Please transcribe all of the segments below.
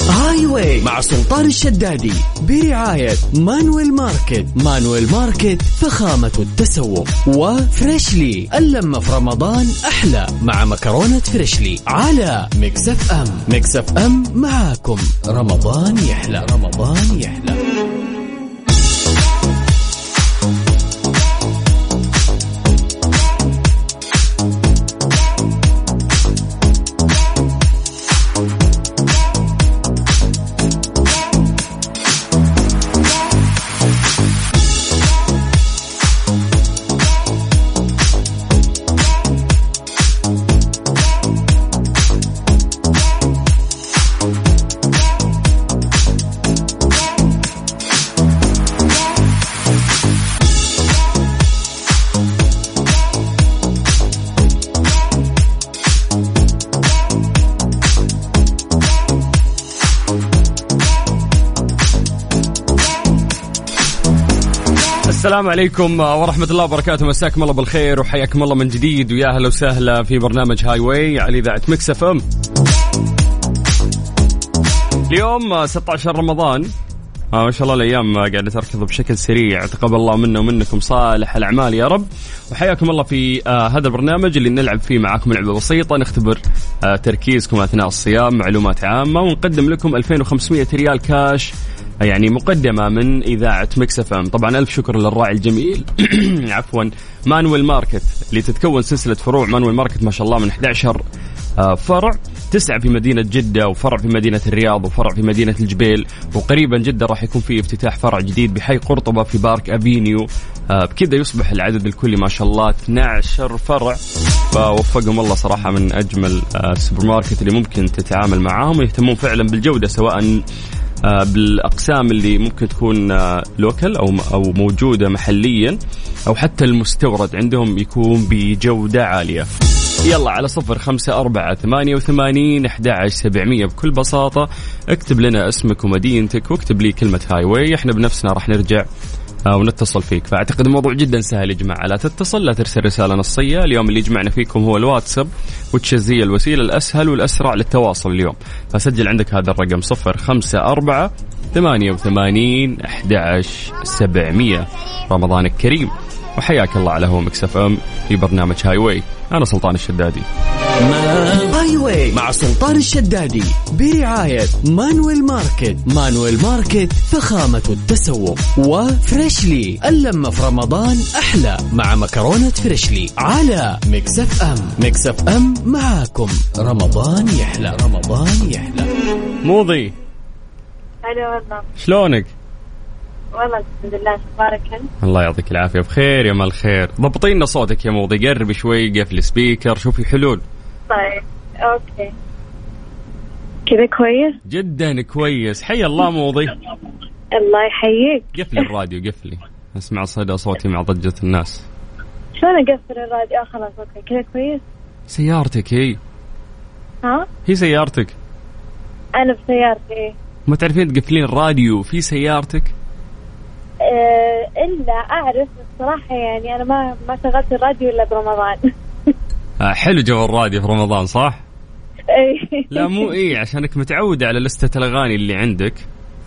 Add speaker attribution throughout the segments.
Speaker 1: هاي واي مع سلطان الشدادي برعاية مانويل ماركت مانويل ماركت فخامة التسوق وفريشلي اللمة في رمضان أحلى مع مكرونة فريشلي على مكسف أم مكسف أم معاكم رمضان يحلى رمضان يحلى
Speaker 2: السلام عليكم ورحمة الله وبركاته مساكم الله بالخير وحياكم الله من جديد ويا هلا وسهلا في برنامج هاي واي على إذاعة مكس اف ام اليوم 16 رمضان آه ما شاء الله الأيام قاعدة تركض بشكل سريع تقبل الله منا ومنكم صالح الأعمال يا رب وحياكم الله في آه هذا البرنامج اللي نلعب فيه معاكم لعبة بسيطة نختبر آه تركيزكم أثناء الصيام معلومات عامة ونقدم لكم 2500 ريال كاش يعني مقدمة من إذاعة مكس اف ام طبعا ألف شكر للراعي الجميل عفوا مانويل ماركت اللي تتكون سلسلة فروع مانويل ماركت ما شاء الله من 11 آه، فرع تسعة في مدينة جدة وفرع في مدينة الرياض وفرع في مدينة الجبيل وقريبا جدا راح يكون في افتتاح فرع جديد بحي قرطبة في بارك أفينيو آه، بكذا يصبح العدد الكلي ما شاء الله 12 فرع فوفقهم الله صراحة من أجمل آه، السوبر ماركت اللي ممكن تتعامل معاهم ويهتمون فعلا بالجودة سواء آه، بالاقسام اللي ممكن تكون آه، لوكال او او موجوده محليا او حتى المستورد عندهم يكون بجوده عاليه. يلا على صفر خمسة أربعة ثمانية وثمانين أحد سبعمية بكل بساطة اكتب لنا اسمك ومدينتك واكتب لي كلمة هاي واي احنا بنفسنا راح نرجع آه، ونتصل فيك فأعتقد الموضوع جدا سهل يا جماعة لا تتصل لا ترسل رسالة نصية اليوم اللي يجمعنا فيكم هو الواتساب وتشز هي الوسيلة الأسهل والأسرع للتواصل اليوم فسجل عندك هذا الرقم صفر خمسة أربعة ثمانية وثمانين أحد سبعمية رمضانك كريم وحياك الله على هو مكسف أم في برنامج هاي واي أنا سلطان الشدادي
Speaker 1: هاي واي مع سلطان الشدادي برعاية مانويل ماركت مانويل ماركت فخامة التسوق وفريشلي اللمة في رمضان أحلى مع مكرونة فريشلي على مكسف أم مكسف أم معاكم رمضان يحلى رمضان يحلى
Speaker 2: موضي
Speaker 3: هلا والله
Speaker 2: شلونك؟
Speaker 3: والله الحمد لله تبارك انت
Speaker 2: الله يعطيك العافية بخير يا مال الخير ضبطي لنا صوتك يا موضي قرب شوي قفل سبيكر شوفي حلول
Speaker 3: طيب اوكي كذا كويس
Speaker 2: جدا كويس حي الله موضي
Speaker 3: الله يحييك
Speaker 2: قفلي الراديو قفلي اسمع صدى صوتي مع ضجة الناس
Speaker 3: شلون اقفل الراديو اه خلاص اوكي كذا كويس
Speaker 2: سيارتك هي
Speaker 3: ها إيه.
Speaker 2: هي سيارتك
Speaker 3: انا بسيارتي
Speaker 2: ما تعرفين تقفلين الراديو في سيارتك
Speaker 3: آه الا اعرف الصراحه يعني انا ما ما شغلت الراديو الا برمضان
Speaker 2: آه حلو جو الراديو في رمضان صح؟
Speaker 3: إيه.
Speaker 2: لا مو اي عشانك متعودة على لستة الاغاني اللي عندك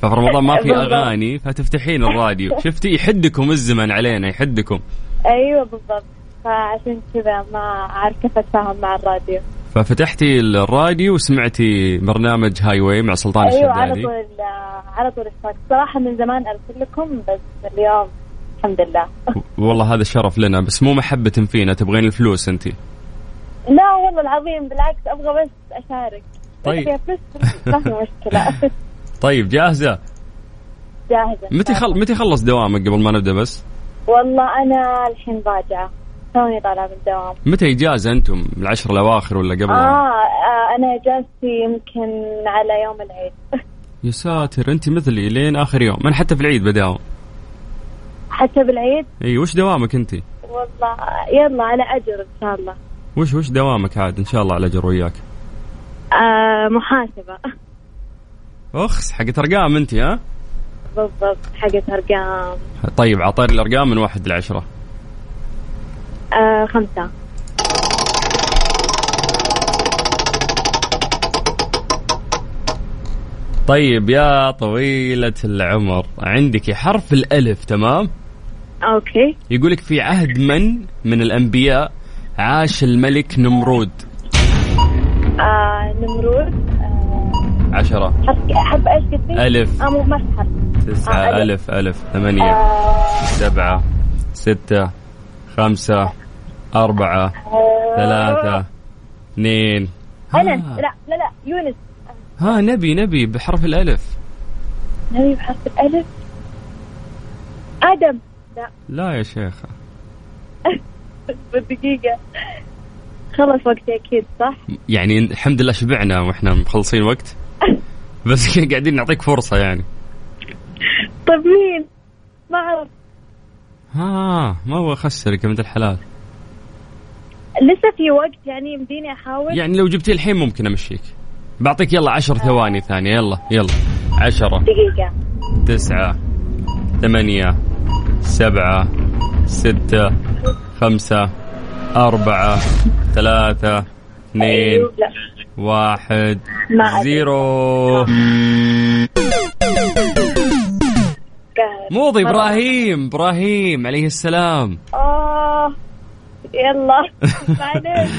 Speaker 2: ففي رمضان ما في
Speaker 3: بالضبط.
Speaker 2: اغاني فتفتحين الراديو شفتي يحدكم الزمن علينا يحدكم
Speaker 3: ايوه بالضبط فعشان كذا ما اعرف كيف اتفاهم مع الراديو
Speaker 2: ففتحتي الراديو وسمعتي برنامج هاي واي مع سلطان
Speaker 3: ايوه على
Speaker 2: الشدادي
Speaker 3: طول آه، على طول اشتركت صراحه من زمان ارسل لكم بس اليوم الحمد لله
Speaker 2: والله هذا شرف لنا بس مو محبة فينا تبغين الفلوس انت
Speaker 3: لا والله العظيم بالعكس ابغى بس اشارك
Speaker 2: طيب.
Speaker 3: بس ما في مشكله
Speaker 2: طيب جاهزة
Speaker 3: جاهزه
Speaker 2: متى خل... متى خلص دوامك قبل ما نبدا بس
Speaker 3: والله انا الحين راجعه توني طالعه من الدوام
Speaker 2: متى اجازة انتم العشر الاواخر ولا قبل
Speaker 3: آه, اه انا اجازتي يمكن على يوم العيد
Speaker 2: يا ساتر انت مثلي لين اخر يوم من حتى في العيد بداوم
Speaker 3: حتى بالعيد
Speaker 2: اي وش دوامك انت
Speaker 3: والله يلا على اجر ان شاء الله
Speaker 2: وش وش دوامك عاد ان شاء الله على اجر وياك
Speaker 3: آه محاسبه
Speaker 2: اخس حقت ارقام انت ها
Speaker 3: بالضبط حقت ارقام
Speaker 2: طيب عطاري الارقام من واحد لعشرة
Speaker 3: آه خمسه
Speaker 2: طيب يا طويلة العمر عندك حرف الألف تمام
Speaker 3: اوكي
Speaker 2: يقولك في عهد من من الأنبياء عاش الملك نمرود
Speaker 3: آه نمرود آه
Speaker 2: عشرة
Speaker 3: حرف حرف ايش قلت لي؟
Speaker 2: ألف.
Speaker 3: آه مو ما في حرف
Speaker 2: تسعة
Speaker 3: آه،
Speaker 2: ألف ألف ثمانية
Speaker 3: آه
Speaker 2: سبعة ستة خمسة أربعة
Speaker 3: آه،
Speaker 2: ثلاثة آه. اثنين
Speaker 3: أنس
Speaker 2: ها,
Speaker 3: آه، لا لا لا يونس
Speaker 2: ها نبي نبي بحرف الألف
Speaker 3: نبي بحرف الألف آدم لا
Speaker 2: لا يا شيخة
Speaker 3: دقيقة خلص وقتي أكيد صح؟
Speaker 2: يعني الحمد لله شبعنا واحنا مخلصين وقت بس قاعدين نعطيك فرصة يعني
Speaker 3: طيب مين؟ ما أعرف
Speaker 2: ها ما هو اخسرك يا بنت الحلال
Speaker 3: لسه في وقت يعني يمديني أحاول
Speaker 2: يعني لو جبتي الحين ممكن امشيك بعطيك يلا عشر ثواني ثانية يلا يلا عشرة
Speaker 3: دقيقة
Speaker 2: تسعة ثمانية سبعة ستة خمسة أربعة ثلاثة اثنين
Speaker 3: لا
Speaker 2: واحد
Speaker 3: ما أدري.
Speaker 2: إيه. زيرو
Speaker 3: قهر
Speaker 2: موضي ابراهيم ابراهيم عليه السلام
Speaker 3: آه يلا معليش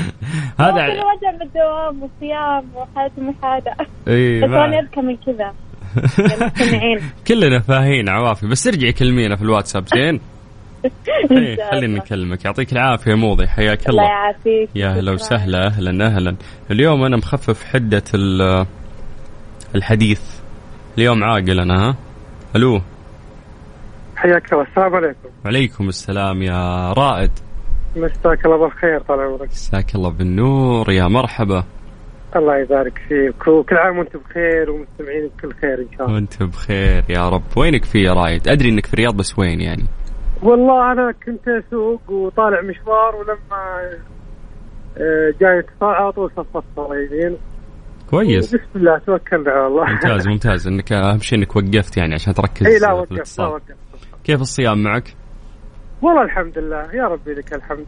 Speaker 2: هذا
Speaker 3: والله وجع من الدوام والصيام وحالة المحادة
Speaker 2: إيه،
Speaker 3: بس أنا
Speaker 2: ما-
Speaker 3: أذكى من كذا يا مستمعين
Speaker 2: كلنا فاهين عوافي بس ارجعي كلمينا في الواتساب زين
Speaker 3: إن
Speaker 2: إيه،
Speaker 3: شاء
Speaker 2: خلينا
Speaker 3: الله.
Speaker 2: نكلمك يعطيك العافيه موضي حياك
Speaker 3: الله
Speaker 2: الله
Speaker 3: يعافيك
Speaker 2: يا هلا
Speaker 3: شكراً.
Speaker 2: وسهلا اهلا اهلا اليوم انا مخفف حده ال- الحديث اليوم عاقل انا ها الو
Speaker 4: حياك الله السلام عليكم
Speaker 2: وعليكم السلام يا رائد
Speaker 4: مساك الله بالخير طال عمرك
Speaker 2: مساك الله بالنور يا مرحبا
Speaker 4: الله يبارك فيك وكل عام وانتم بخير ومستمعين بكل خير ان شاء الله
Speaker 2: وانت بخير يا رب وينك في يا رايد ادري انك في الرياض بس وين يعني
Speaker 4: والله انا كنت اسوق وطالع مشوار ولما آه، جاني اتصال طول صفصت على يمين
Speaker 2: كويس
Speaker 4: بسم الله توكلنا على الله
Speaker 2: ممتاز ممتاز انك اهم شيء انك وقفت يعني عشان تركز
Speaker 4: اي لا
Speaker 2: في
Speaker 4: وقفت لا
Speaker 2: الاتصال.
Speaker 4: وقفت
Speaker 2: كيف الصيام معك
Speaker 4: والله الحمد لله يا ربي لك الحمد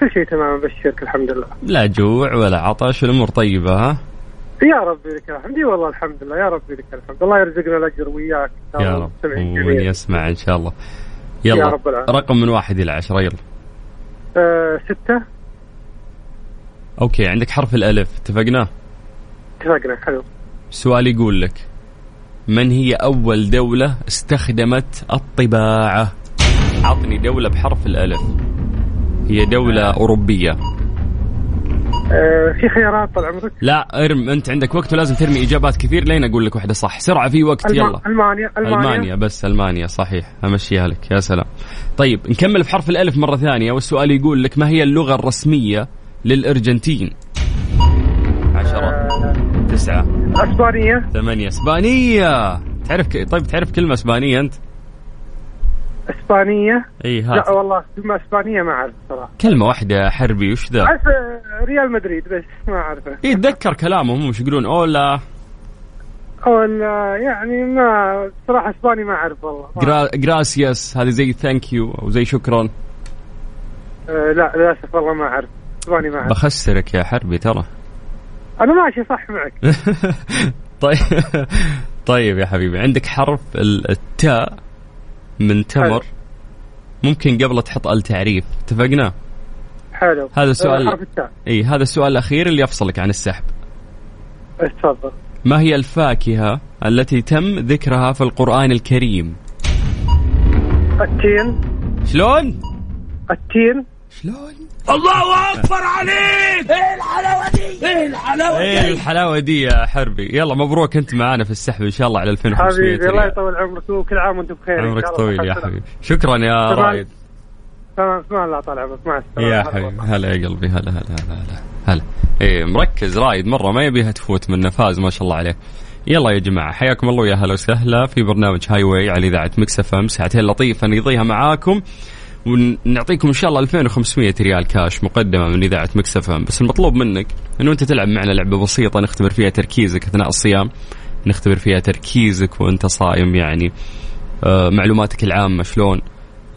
Speaker 4: كل شيء تمام بشرك الحمد لله
Speaker 2: لا جوع ولا عطش الامور طيبه ها
Speaker 4: يا ربي لك الحمد اي والله الحمد لله يا ربي لك الحمد الله يرزقنا الاجر وياك إن شاء
Speaker 2: يا
Speaker 4: الله
Speaker 2: رب
Speaker 4: والمستمعين
Speaker 2: ومن
Speaker 4: جميعاً.
Speaker 2: يسمع ان شاء الله
Speaker 4: آه، يا
Speaker 2: يلا
Speaker 4: رب العالمين.
Speaker 2: رقم من واحد الى عشرة يلا
Speaker 4: آه، ستة
Speaker 2: اوكي عندك حرف الالف اتفقنا
Speaker 4: اتفقنا حلو
Speaker 2: سؤال يقول لك من هي اول دولة استخدمت الطباعة عطني دولة بحرف الالف هي دولة أوروبية
Speaker 4: آه، في خيارات طال عمرك
Speaker 2: لا ارم أنت عندك وقت ولازم ترمي إجابات كثير لين أقول لك واحدة صح سرعة في وقت
Speaker 4: ألما-
Speaker 2: يلا
Speaker 4: المانيا المانيا,
Speaker 2: ألمانيا بس ألمانيا صحيح أمشيها لك يا سلام طيب نكمل بحرف الألف مرة ثانية والسؤال يقول لك ما هي اللغة الرسمية للأرجنتين عشرة تسعة
Speaker 4: اسبانيا
Speaker 2: ثمانية اسبانية تعرف ك... طيب تعرف كلمة اسبانية انت؟
Speaker 4: اسبانيا
Speaker 2: اي
Speaker 4: لا
Speaker 2: ها
Speaker 4: والله ثم اسبانيا ما اعرف صراحه
Speaker 2: كلمة واحدة حربي وش ذا؟
Speaker 4: اعرف آه، ريال مدريد بس ما اعرفه
Speaker 2: اي تذكر كلامهم هم وش يقولون اولا
Speaker 4: ولا يعني ما صراحه اسباني ما اعرف والله ما
Speaker 2: جرا... جراسياس هذه زي ثانك يو او زي شكرا
Speaker 4: آه، لا للاسف والله ما اعرف اسباني ما اعرف
Speaker 2: بخسرك يا حربي ترى
Speaker 4: انا ماشي صح معك
Speaker 2: طيب طيب يا حبيبي عندك حرف ال- التاء من تمر ممكن قبله تحط التعريف اتفقنا
Speaker 4: حلو
Speaker 2: هذا سؤال-
Speaker 4: آه، حرف التاء
Speaker 2: اي هذا السؤال الاخير اللي يفصلك عن السحب
Speaker 4: تفضل
Speaker 2: ما هي الفاكهه التي تم ذكرها في القران الكريم
Speaker 4: التين
Speaker 2: شلون
Speaker 4: التين
Speaker 2: شلون
Speaker 4: إيه
Speaker 2: الله اكبر عليك ايه الحلاوه دي ايه الحلاوه دي يا حربي يلا مبروك انت معانا في السحب ان شاء الله على 2500
Speaker 4: حبيبي الله
Speaker 2: ريال.
Speaker 4: يطول عمرك وكل عام وانت بخير إن شاء
Speaker 2: عمرك
Speaker 4: الله.
Speaker 2: طويل يا
Speaker 4: الحمد لله.
Speaker 2: حبيبي شكرا يا
Speaker 4: طبعاً.
Speaker 2: رايد
Speaker 4: تمام اسمع الله طال عمرك مع السلامه
Speaker 2: يا
Speaker 4: هلا والله.
Speaker 2: حبيبي هلا يا قلبي هلا هلا هلا هلا هلا ايه مركز رايد مره ما يبيها تفوت منه فاز ما شاء الله عليه يلا يا جماعه حياكم الله ويا هلا وسهلا في برنامج هاي واي على اذاعه مكس اف ام ساعتين لطيفه نقضيها معاكم ونعطيكم ان شاء الله 2500 ريال كاش مقدمه من اذاعه مكس اف ام بس المطلوب منك انه انت تلعب معنا لعبه بسيطه نختبر فيها تركيزك اثناء الصيام نختبر فيها تركيزك وانت صايم يعني آه معلوماتك العامه شلون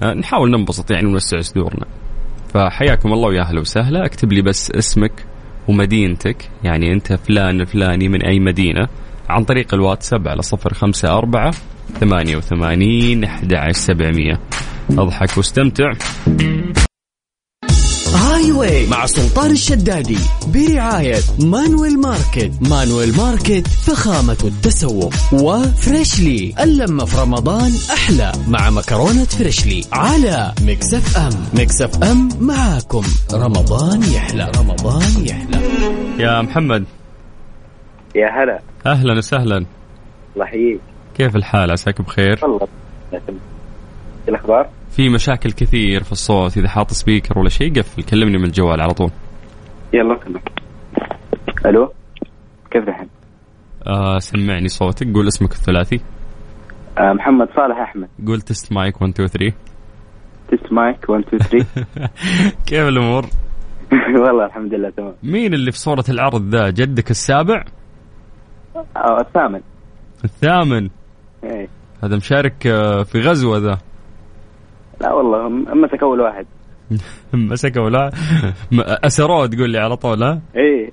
Speaker 2: آه نحاول ننبسط يعني ونوسع صدورنا فحياكم الله ويا اهلا وسهلا اكتب لي بس اسمك ومدينتك يعني انت فلان الفلاني من اي مدينه عن طريق الواتساب على صفر خمسة أربعة ثمانية وثمانين أحد عشر سبعمية اضحك واستمتع
Speaker 1: هاي واي مع سلطان الشدادي برعاية مانويل ماركت مانويل ماركت فخامة التسوق وفريشلي اللمة في رمضان أحلى مع مكرونة فريشلي على مكسف أم مكسف أم معاكم رمضان يحلى رمضان يحلى
Speaker 2: يا محمد
Speaker 5: يا هلا
Speaker 2: أهلا وسهلا
Speaker 5: الله يحييك
Speaker 2: كيف الحال عساك بخير
Speaker 5: والله لكن- إيه الاخبار
Speaker 2: في مشاكل كثير في الصوت إذا حاط سبيكر ولا شيء قفل كلمني من الجوال على طول
Speaker 5: يلا كمل الو كيف الحال
Speaker 2: آه سمعني صوتك قول اسمك الثلاثي
Speaker 5: آه محمد صالح احمد
Speaker 2: قول تست مايك 1 2 3
Speaker 5: تست مايك 1 2
Speaker 2: كيف الأمور
Speaker 5: 3 والله الحمد لله تمام
Speaker 2: مين اللي في صورة العرض ذا جدك السابع
Speaker 5: آه الثامن
Speaker 2: الثامن
Speaker 5: إيه.
Speaker 2: هذا مشارك آه، في غزوة ذا
Speaker 5: لا والله م- مسك اول واحد
Speaker 2: مسكه ولا م- اسروه تقول لي على طول ها
Speaker 5: ايه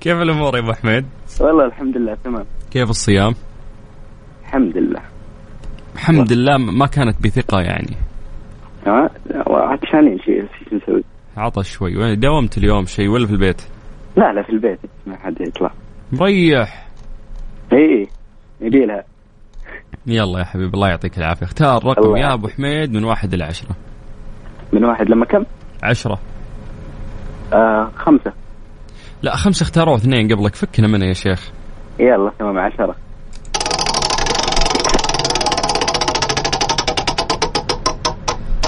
Speaker 2: كيف الامور يا ابو حميد؟
Speaker 5: والله الحمد لله تمام
Speaker 2: كيف الصيام؟
Speaker 5: الحمد لله
Speaker 2: الحمد لله م- ما كانت بثقه يعني
Speaker 5: ها عطشانين آه، شيء شو نسوي
Speaker 2: عطش شوي وين- داومت اليوم شيء ولا في البيت؟
Speaker 5: لا لا في البيت ما حد يطلع
Speaker 2: مريح
Speaker 5: ايه يبي لها
Speaker 2: يلا يا حبيبي الله يعطيك العافيه اختار رقم
Speaker 5: الله
Speaker 2: يا
Speaker 5: يعافيك.
Speaker 2: ابو حميد من واحد الى عشره
Speaker 5: من واحد لما كم
Speaker 2: عشره
Speaker 5: آه خمسة
Speaker 2: لا خمسه اختاروا اثنين قبلك فكنا منه يا شيخ
Speaker 5: يلا تمام عشرة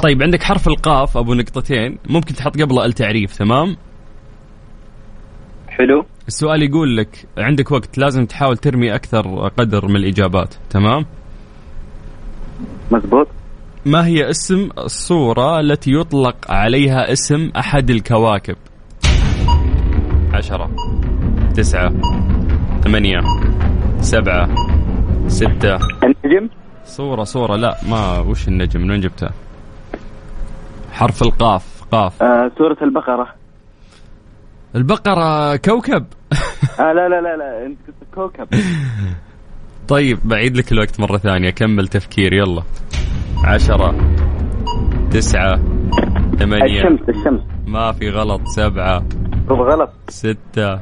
Speaker 2: طيب عندك حرف القاف ابو نقطتين ممكن تحط قبله التعريف تمام
Speaker 5: حلو
Speaker 2: السؤال يقول لك عندك وقت لازم تحاول ترمي اكثر قدر من الاجابات تمام
Speaker 5: مزبوط
Speaker 2: ما هي اسم الصورة التي يطلق عليها اسم أحد الكواكب؟ عشرة تسعة ثمانية سبعة ستة
Speaker 5: النجم
Speaker 2: صورة صورة لا ما وش النجم من وين جبتها؟ حرف القاف قاف
Speaker 5: آه سورة البقرة
Speaker 2: البقرة كوكب
Speaker 5: آه لا لا لا لا انت قلت كوكب
Speaker 2: طيب بعيد لك الوقت مرة ثانية كمل تفكير يلا عشرة تسعة ثمانية
Speaker 5: الشمس الشمس
Speaker 2: ما في غلط سبعة
Speaker 5: هو غلط
Speaker 2: ستة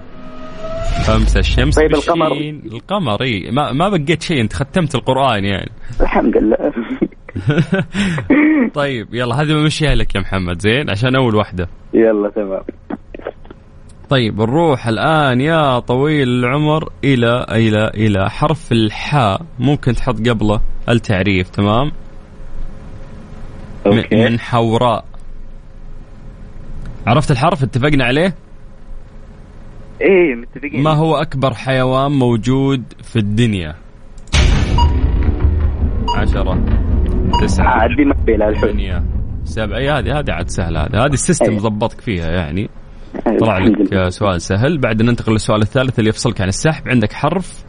Speaker 2: خمسة الشمس
Speaker 5: طيب القمر.
Speaker 2: بالشين. القمر إيه. ما ما بقيت شيء انت ختمت القرآن يعني
Speaker 5: الحمد لله
Speaker 2: طيب يلا هذه بمشيها لك يا محمد زين عشان اول واحدة
Speaker 5: يلا تمام
Speaker 2: طيب نروح الان يا طويل العمر الى الى الى حرف الحاء ممكن تحط قبله التعريف تمام م-
Speaker 5: اوكي
Speaker 2: من حوراء عرفت الحرف اتفقنا عليه
Speaker 5: ايه متفقين
Speaker 4: إيه.
Speaker 2: ما هو أكبر حيوان موجود في الدنيا؟ عشرة تسعة
Speaker 5: عاد دي ما بيلها الحين
Speaker 2: ثمانية سبعة إيه هذه هذه عاد سهلة هذه هذه السيستم
Speaker 5: أيوة.
Speaker 2: ضبطك فيها يعني طلع لك آه، سؤال سهل بعد ننتقل للسؤال الثالث اللي يفصلك عن السحب عندك حرف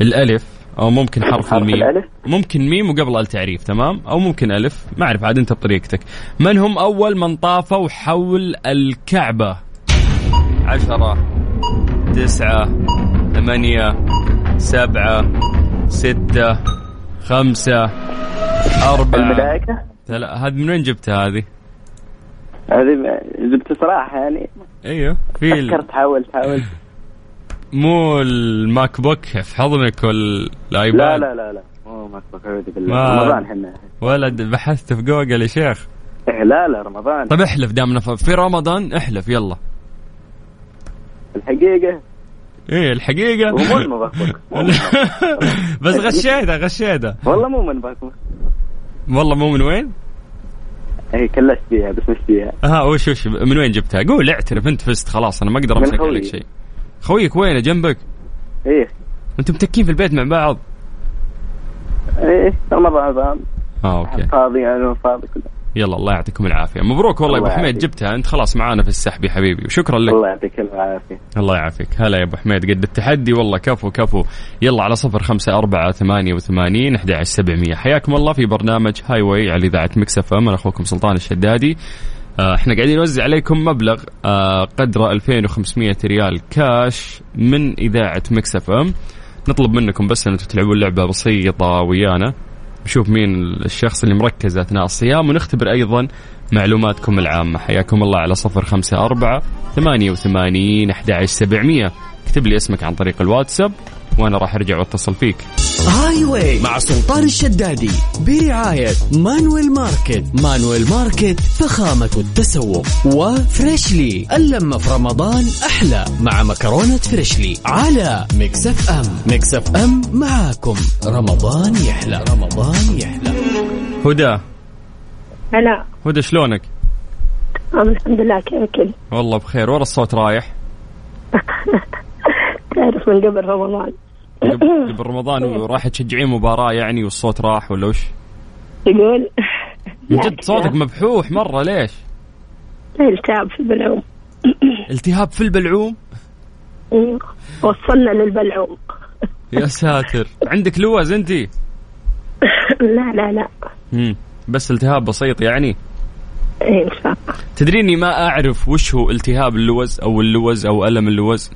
Speaker 2: الألف أو ممكن حرف,
Speaker 5: حرف
Speaker 2: الميم
Speaker 5: الألف.
Speaker 2: ممكن ميم وقبل التعريف تمام أو ممكن ألف ما أعرف عاد أنت بطريقتك من هم أول من طافوا حول الكعبة عشرة تسعة ثمانية سبعة ستة خمسة أربعة
Speaker 5: الملائكة
Speaker 2: لا هذه من وين جبتها هذه؟
Speaker 5: هذه ما- جبت صراحة يعني
Speaker 2: ايوه في ال-
Speaker 5: فكرت حاولت حاولت
Speaker 2: مو الماك بوك في حضنك ولا الايباد
Speaker 5: لا لا لا لا مو ما أصدق، اعوذ بالله
Speaker 2: ما-
Speaker 5: رمضان احنا
Speaker 2: ولا د- بحثت في جوجل يا شيخ
Speaker 5: إيه، لا لا رمضان
Speaker 2: طب طيب احلف دامنا ف- في رمضان احلف يلا
Speaker 5: الحقيقة
Speaker 2: ايه الحقيقة
Speaker 5: ومو المبكبك مو المبكبك.
Speaker 2: بس غشيتها غشيتها
Speaker 5: والله مو من بكبك
Speaker 2: والله مو من وين؟
Speaker 5: اي إيه، كلشت فيها بس مش فيها
Speaker 2: ها وش وش من وين جبتها؟ قول اعترف انت فزت خلاص انا ما اقدر
Speaker 5: من
Speaker 2: امسك
Speaker 5: خويي.
Speaker 2: عليك شيء خويك وينه جنبك؟
Speaker 5: ايه
Speaker 2: انتم متكين في البيت مع بعض
Speaker 5: ايه رمضان رمضان
Speaker 2: اه اوكي
Speaker 5: فاضي انا فاضي كله
Speaker 2: يلا الله يعطيكم العافيه مبروك والله يا ابو
Speaker 5: الله
Speaker 2: حميد
Speaker 5: يعافيك.
Speaker 2: جبتها انت خلاص معانا في السحب يا حبيبي وشكرا لك
Speaker 5: الله يعطيك العافيه
Speaker 2: الله يعافيك هلا يا ابو حميد قد التحدي والله كفو كفو يلا على صفر خمسة أربعة ثمانية وثمانين أحد سبعمية حياكم الله في برنامج هاي واي على إذاعة مكسف أم أنا أخوكم سلطان الشدادي آه، احنا قاعدين نوزع عليكم مبلغ آه، قدره 2500 ريال كاش من اذاعه مكس اف ام نطلب منكم بس ان انتم تلعبون لعبه بسيطه ويانا نشوف مين الشخص اللي مركز اثناء الصيام ونختبر ايضا معلوماتكم العامه حياكم الله على صفر خمسة أربعة ثمانية وثمانين أحد عشر سبعمية اكتب لي اسمك عن طريق الواتساب وانا راح ارجع واتصل فيك
Speaker 1: هاي واي مع سلطان الشدادي برعاية مانويل ماركت مانويل ماركت فخامة التسوق وفريشلي اللمة في رمضان أحلى مع مكرونة فريشلي على مكسف أم مكسف أم معاكم رمضان يحلى رمضان يحلى
Speaker 2: هدى
Speaker 6: هلا
Speaker 2: هدى شلونك
Speaker 6: الحمد لله كيفك
Speaker 2: والله بخير ورا الصوت رايح
Speaker 6: تعرف من قبل رمضان
Speaker 2: قبل قبل رمضان وراح تشجعين مباراة يعني والصوت راح ولا وش؟
Speaker 6: تقول
Speaker 2: من جد صوتك مبحوح مرة ليش؟
Speaker 6: التعب في البلعوم
Speaker 2: التهاب في البلعوم؟
Speaker 6: أيوه. وصلنا للبلعوم
Speaker 2: يا ساتر عندك لوز انت؟
Speaker 6: لا لا لا
Speaker 2: مم. بس التهاب بسيط يعني
Speaker 6: إيه، ان شاء الله
Speaker 2: تدريني ما اعرف وش هو التهاب اللوز او اللوز او الم اللوز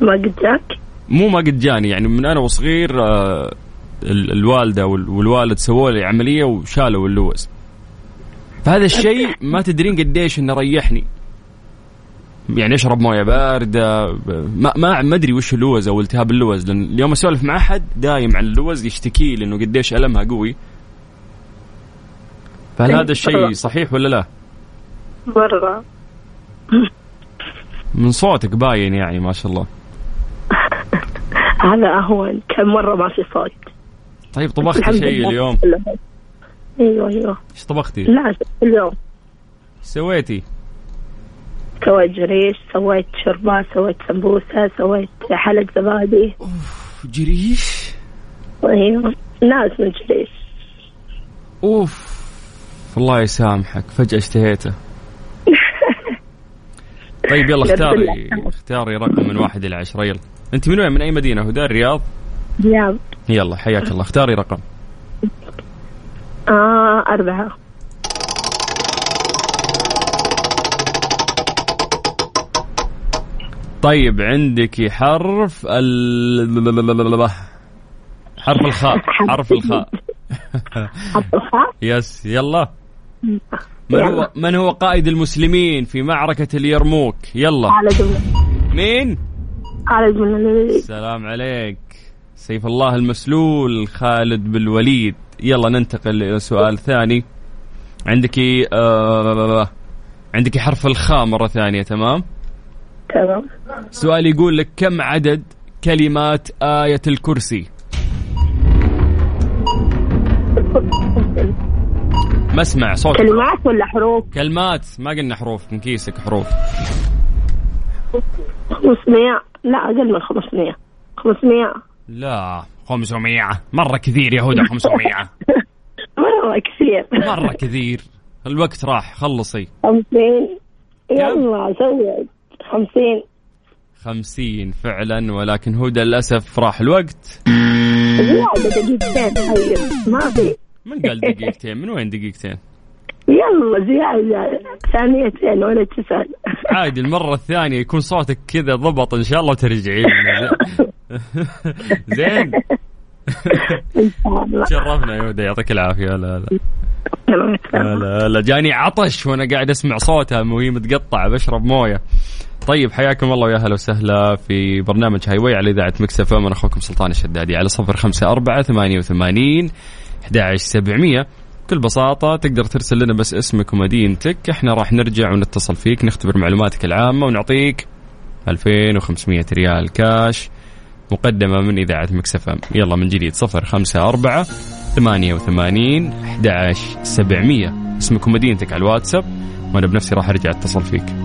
Speaker 6: ما قد جاك
Speaker 2: مو ما قد جاني يعني من انا وصغير آه، ال- الوالده وال- والوالد سووا لي عمليه وشالوا اللوز فهذا الشيء ما تدرين قديش انه ريحني يعني اشرب مويه بارده ب- ما ما ما ادري وش اللوز او التهاب اللوز لان اليوم اسولف مع احد دايم عن اللوز يشتكي لي انه قديش المها قوي فهل هذا الشيء صحيح ولا لا؟
Speaker 6: مره
Speaker 2: من صوتك باين يعني ما شاء الله
Speaker 6: هذا اهون كم مره ما في صوت
Speaker 2: طيب طبختي
Speaker 6: الحمد
Speaker 2: شيء
Speaker 6: لله.
Speaker 2: اليوم
Speaker 6: ايوه ايوه
Speaker 2: ايش طبختي؟
Speaker 6: لا اليوم
Speaker 2: سويتي؟
Speaker 6: سويت جريش سويت شربات سويت سمبوسه سويت حلق زبادي
Speaker 2: جريش
Speaker 6: ايوه ناس من جريش
Speaker 2: اوف الله يسامحك فجأة اشتهيته طيب يلا اختاري اختاري رقم من واحد إلى عشرة يلا أنت من وين من أي مدينة هدى الرياض
Speaker 6: نعم
Speaker 2: يلا حياك الله اختاري رقم
Speaker 6: آه أربعة
Speaker 2: طيب عندك حرف ال حرف الخاء حرف الخاء
Speaker 6: حطها
Speaker 2: يس يلا من هو من هو قائد المسلمين في معركة اليرموك يلا
Speaker 6: خالد بن
Speaker 2: مين
Speaker 6: خالد بن الوليد
Speaker 2: السلام عليك سيف الله المسلول خالد بالوليد يلا ننتقل الى سؤال ثاني عندك آه عندك حرف الخاء مره ثانيه تمام
Speaker 6: تمام
Speaker 2: سؤال يقول لك كم عدد كلمات آية الكرسي ما اسمع صوتك
Speaker 6: كلمات ولا حروف؟
Speaker 2: كلمات ما قلنا حروف من كيسك حروف
Speaker 6: 500 لا أقل من 500 500
Speaker 2: لا 500 مرة كثير يا هدى 500
Speaker 6: مرة كثير
Speaker 2: مرة كثير الوقت راح خلصي
Speaker 6: 50 يلا زود 50
Speaker 2: خمسين فعلا ولكن هدى للأسف راح الوقت
Speaker 6: زيادة دقيقتين طيب ما في
Speaker 2: من قال دقيقتين من وين دقيقتين
Speaker 6: يلا زيادة ثانيتين ولا تسأل
Speaker 2: عادي المرة الثانية يكون صوتك كذا ضبط إن شاء الله وترجعي لنا. زين
Speaker 6: إن شاء الله
Speaker 2: شرفنا يا هدى يعطيك العافية لا لا
Speaker 6: تمام
Speaker 2: لا لا, لا جاني عطش وأنا قاعد أسمع صوتها وهي متقطعة بشرب موية طيب حياكم الله ويا هلا وسهلا في برنامج هاي واي على إذاعة مكسف أنا أخوكم سلطان الشدادي على صفر خمسة أربعة ثمانية وثمانين 11700 بكل بساطة تقدر ترسل لنا بس اسمك ومدينتك احنا راح نرجع ونتصل فيك نختبر معلوماتك العامة ونعطيك 2500 ريال كاش مقدمة من إذاعة مكسف أم يلا من جديد 054 88 11700 اسمك ومدينتك على الواتساب وأنا بنفسي راح أرجع أتصل فيك